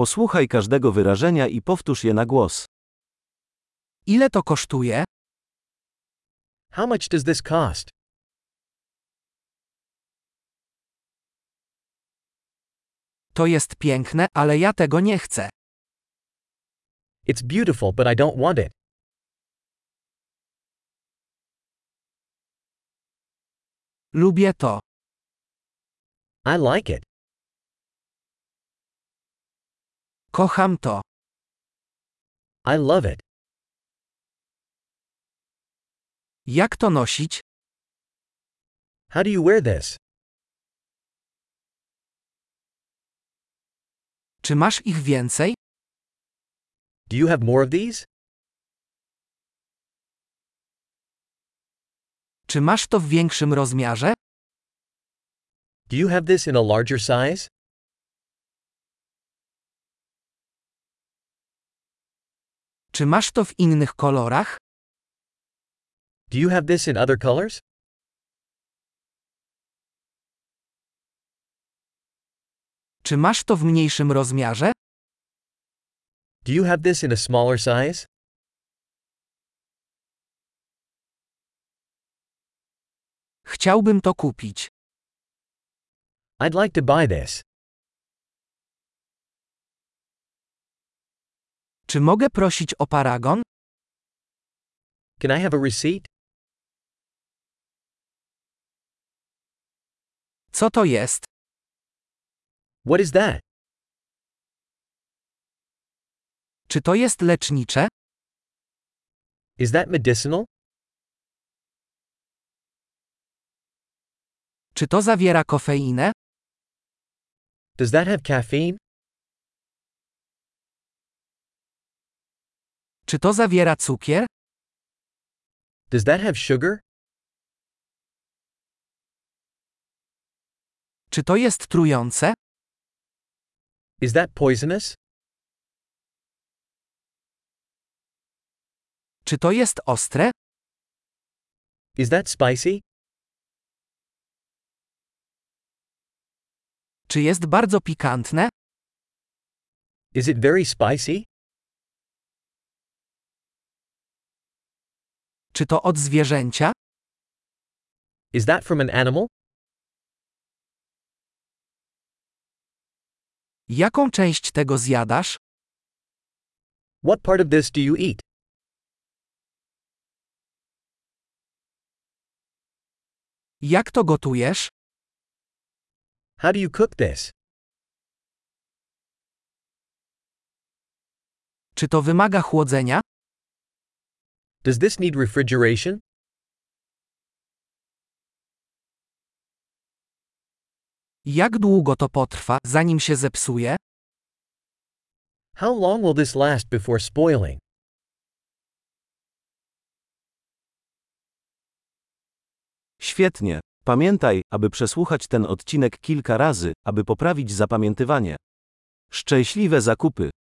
Posłuchaj każdego wyrażenia i powtórz je na głos. Ile to kosztuje? How much does this cost? To jest piękne, ale ja tego nie chcę. It's beautiful, but I don't want it. Lubię to. I like it. Kocham to. I love it. Jak to nosić? How do you wear this? Czy masz ich więcej? Do you have more of these? Czy masz to w większym rozmiarze? Do you have this in a larger size? Czy masz to w innych kolorach? Do you have this in other colors? Czy masz to w mniejszym rozmiarze? Do you have this in a smaller size? Chciałbym to kupić. I'd like to buy this. Czy mogę prosić o paragon? Can I have a receipt? Co to jest? What is that? Czy to jest lecznicze? Is that medicinal? Czy to zawiera kofeinę? Does that have caffeine? Czy to zawiera cukier? Does that have sugar? Czy to jest trujące? Is that poisonous? Czy to jest ostre? Is that spicy? Czy jest bardzo pikantne? Is it very spicy? Czy to od zwierzęcia? Is that from an animal? Jaką część tego zjadasz? What part of this do you eat? Jak to gotujesz? How do you cook this? Czy to wymaga chłodzenia? Does this need refrigeration? Jak długo to potrwa, zanim się zepsuje? How long will this last before spoiling? Świetnie. Pamiętaj, aby przesłuchać ten odcinek kilka razy, aby poprawić zapamiętywanie. Szczęśliwe zakupy!